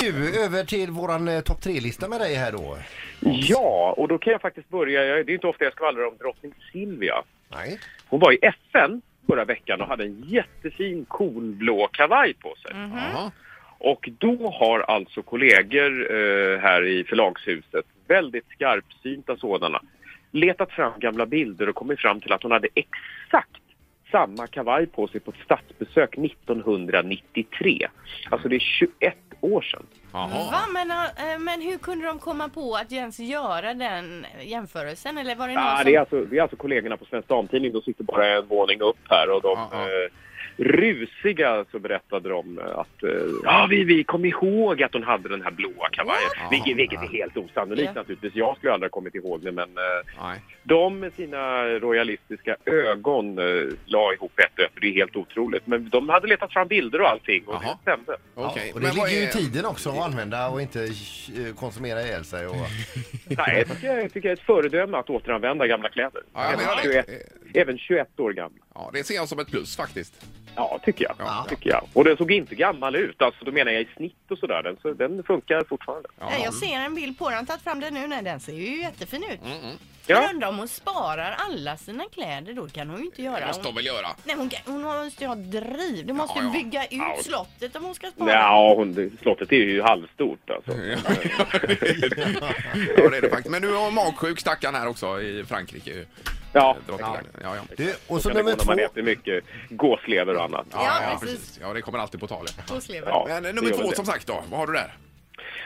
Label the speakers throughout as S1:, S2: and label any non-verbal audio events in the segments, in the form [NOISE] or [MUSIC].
S1: Du, över till våran eh, topp tre-lista med dig här då.
S2: Ja, och då kan jag faktiskt börja. jag- Det är inte ofta jag skvallrar om drottning Silvia.
S1: Nej.
S2: Hon var i FN förra veckan och hade en jättefin coolblå kavaj på sig.
S1: Mm.
S3: Jaha.
S2: Och då har alltså kollegor eh, här i förlagshuset, väldigt skarpsynta sådana, letat fram gamla bilder och kommit fram till att hon hade exakt samma kavaj på sig på ett statsbesök 1993. Alltså det är 21 år sedan.
S3: Jaha.
S4: Va? Men, eh, men hur kunde de komma på att ens göra den jämförelsen? Eller var det någon
S2: Ja,
S4: som...
S2: det, är alltså, det är alltså kollegorna på Svensk Damtidning. De sitter bara en våning upp här och de
S3: Ja, ja.
S2: Eh, rusiga så berättade de eh, att eh, ja, vi, vi kom ihåg att hon hade den här blåa kavajen.
S3: Ja,
S2: vilket, vilket är helt osannolikt
S4: Ja.
S2: naturligtvis. Jag skulle aldrig ha kommit ihåg det men eh,
S3: Nej.
S2: de med sina royalistiska ögon eh, la ihop ett och ett. Det är helt otroligt. Men de hade letat fram bilder och allting och
S3: Jaha.
S2: det stämde.
S3: Okej.
S1: Ja, och det
S3: Men vad
S1: ligger ju
S3: är-
S1: i tiden också att använda och inte eh, konsumera ihjäl sig. Och...
S2: Nej, jag tycker, jag tycker det är ett föredöme att återanvända gamla kläder.
S3: Ja, jag
S2: även,
S3: menar
S2: 21,
S3: det.
S2: även 21 år gamla.
S3: Ja, det ser jag som ett plus faktiskt.
S2: Ja, tycker jag.
S3: Ja.
S2: tycker jag. Och den såg inte gammal ut, alltså då menar jag i snitt och sådär. Den, så, den funkar fortfarande.
S3: Ja.
S4: Nej, jag ser en bild på den. Tagit fram den nu. Nej, den ser ju jättefin ut. Mm, mm.
S2: Ja.
S4: Jag undrar om hon sparar alla sina kläder då. Det kan hon ju inte göra.
S3: Det måste de
S4: Hon...
S3: väl göra?
S4: Nej, hon, kan- hon måste ju ha driv. Du måste ju
S3: ja.
S4: bygga ut
S2: Ja.
S4: slottet om hon ska spara.
S2: Ja, hon, det- slottet är ju halvstort alltså.
S3: Ja, det är det. Ja, det är det faktiskt. Men nu har magsjuk stackaren här också i Frankrike. Eh,
S2: Ja.
S3: Drottningen. Ja, ja.
S1: Du, och så
S2: Kan det gå
S1: nummer
S2: när man
S1: två.
S2: äter mycket gåslever och annat.
S4: Ja, precis.
S3: Ja, det kommer alltid på tal. ja.
S4: Gåslever.
S2: Ja,
S3: Men eh,
S2: det
S3: nummer
S2: gör väl
S3: två
S2: det.
S3: som sagt då, vad har du där?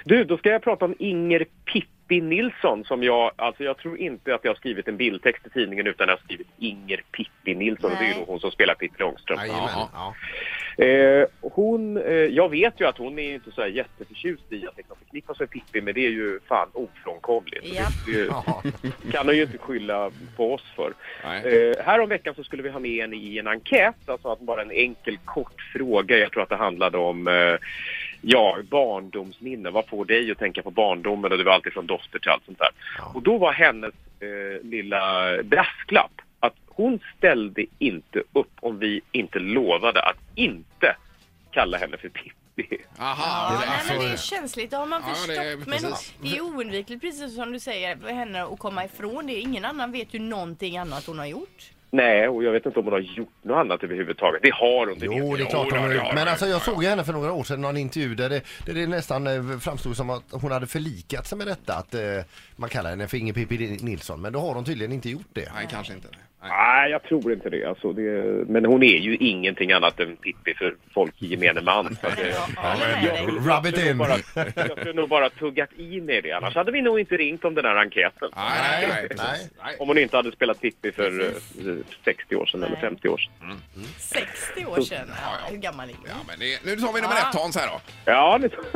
S2: Du, då ska jag prata om Inger Pippi Nilsson som jag, alltså jag tror inte att jag har skrivit en bildtext i tidningen utan jag har skrivit Inger Pippi Nilsson och det är ju
S4: Nej.
S2: då hon som spelar Pippi Långstrump.
S1: Jajamän,
S3: Ja.
S1: ja.
S2: Eh, hon, eh, jag vet ju att hon är inte så här jätteförtjust i att liksom förknippas med Pippi, men det är ju fan ofrånkomligt.
S4: Ja.
S2: Det, [LAUGHS] det
S1: Ja.
S2: kan hon ju inte skylla på oss för.
S3: Nej.
S2: Eh, här om veckan så skulle vi ha med en i en enkät, alltså att bara en enkel kort fråga. Jag tror att det handlade om eh, ja, barndomsminnen. Vad får dig att tänka på barndomen? Och det var alltid från dofter till allt sånt där.
S1: Ja.
S2: Och då var hennes eh, lilla brasklapp att hon ställde inte upp om vi inte lovade att inte kalla henne för Pippi. [LAUGHS]
S3: Aha,
S4: Ja,
S3: det-
S4: nej,
S3: alltså,
S4: men det är känsligt, det har man
S3: Ja,
S4: förstått.
S3: det är
S4: men
S3: precis.
S4: det är oundvikligt, precis som du säger, för henne att komma ifrån det. Ingen annan vet ju någonting annat hon har gjort.
S2: Nej, och jag vet inte om hon har gjort något annat överhuvudtaget. Det har hon. det vet
S1: Jo,
S2: jag.
S1: det är klart
S3: Jo,
S1: hon har
S3: det-
S1: gjort.
S3: ja,
S1: Men
S3: ja,
S1: alltså
S3: ja,
S1: jag
S3: ja.
S1: såg ju henne för några år sedan i någon intervju där det, där det nästan eh, framstod som att hon hade förlikat sig med detta. Att eh, man kallar henne för Inger Pippi Nilsson. Men då har hon tydligen inte gjort det.
S3: nej, kanske inte. Nej.
S2: Nej, jag tror inte det. Alltså, det. Men hon är ju ingenting annat än Pippi för folk i gemene man. Så att
S4: Men
S2: det-
S4: jag håller med
S2: jag
S4: dig.
S2: skulle-
S1: Rub
S2: jag
S1: it
S2: skulle
S1: in.
S2: Bara, jag skulle nog bara tuggat i med det, annars hade vi nog inte ringt om den här enkäten.
S3: Nej, nej, nej. precis.
S1: Nej.
S3: nej.
S2: Om hon inte hade spelat Pippi för
S4: Precis.
S2: eh, 60 år sedan eller
S4: Nej.
S2: 50 år sedan.
S4: 60 år sedan, ja,
S3: ja.
S4: hur gammal är hon?
S3: Ja, men det, nu tar vi nummer
S4: Ja.
S3: ett Hans här då.
S2: Ja, nu [LAUGHS]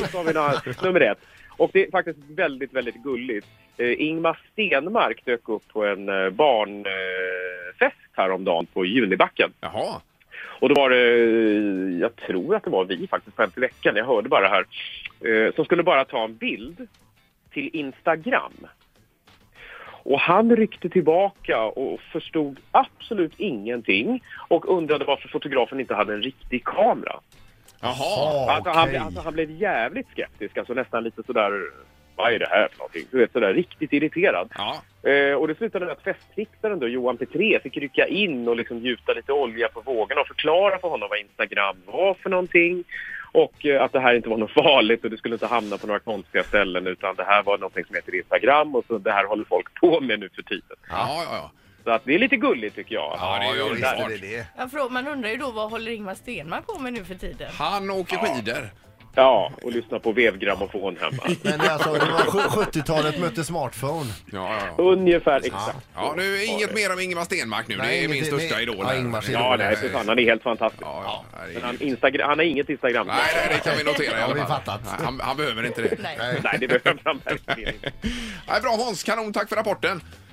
S2: nu tar vi några, nummer ett. Och det är faktiskt väldigt, väldigt gulligt. Eh, Ingmar Stenmark dök upp på en eh, barnfest häromdagen på Junibacken.
S3: Jaha.
S2: Och då var det, eh, jag tror att det var vi faktiskt, på Hänt i veckan, jag hörde bara här, eh, som skulle bara ta en bild till Instagram. Och han ryckte tillbaka och förstod absolut ingenting och undrade varför fotografen inte hade en riktig kamera.
S3: Jaha.
S1: Ah,
S2: Alltså, han, alltså, han blev jävligt skeptisk, alltså nästan lite sådär, vad är det här för någonting? Du vet, sådär riktigt irriterad.
S3: Ja.
S2: Eh, och det slutade med att festtricksaren då, Johan Petré fick rycka in och liksom gjuta lite olja på vågorna och förklara för honom vad Instagram var för någonting och eh, att det här inte var något [LAUGHS] farligt och det skulle inte hamna på några konstiga ställen utan det här var någonting som heter Instagram och så det här håller folk på med nu för tiden.
S3: Ja, ja, ja.
S2: Så att det är lite gulligt tycker jag.
S3: Ja, det är ju
S1: Ja, visst
S3: underbart.
S1: är det det.
S4: Ja, för man undrar ju då vad håller Ingmar Stenmark på med nu för tiden?
S3: Han åker skidor.
S2: Ja, och lyssna på vevgrammofon
S3: [LAUGHS]
S2: hemma.
S1: Men det är alltså, det var sj- 70-talet mötte smartphone.
S3: Ja, ja, ja.
S2: Ungefär exakt.
S3: ja nu är inget mer om Ingemar Stenmark nu.
S1: Nej,
S3: det är min
S1: inget-
S3: största
S1: nej.
S3: idol.
S1: Ja,
S3: här.
S1: Ingmars idol.
S2: Ja, nej, för fan, han är helt fantastisk.
S3: Ja, ja.
S2: Men
S3: Nej,
S2: han, Instagram, han har inget Instagram.
S3: nej, nej, det kan vi notera i
S1: Ja,
S3: alla
S1: vi
S3: fall.
S1: fattat.
S3: Nej, Han, han behöver inte det.
S4: Nej.
S2: Nej, det behöver han verkligen inte.
S3: Nej, bra Hans, kanon. Tack för rapporten.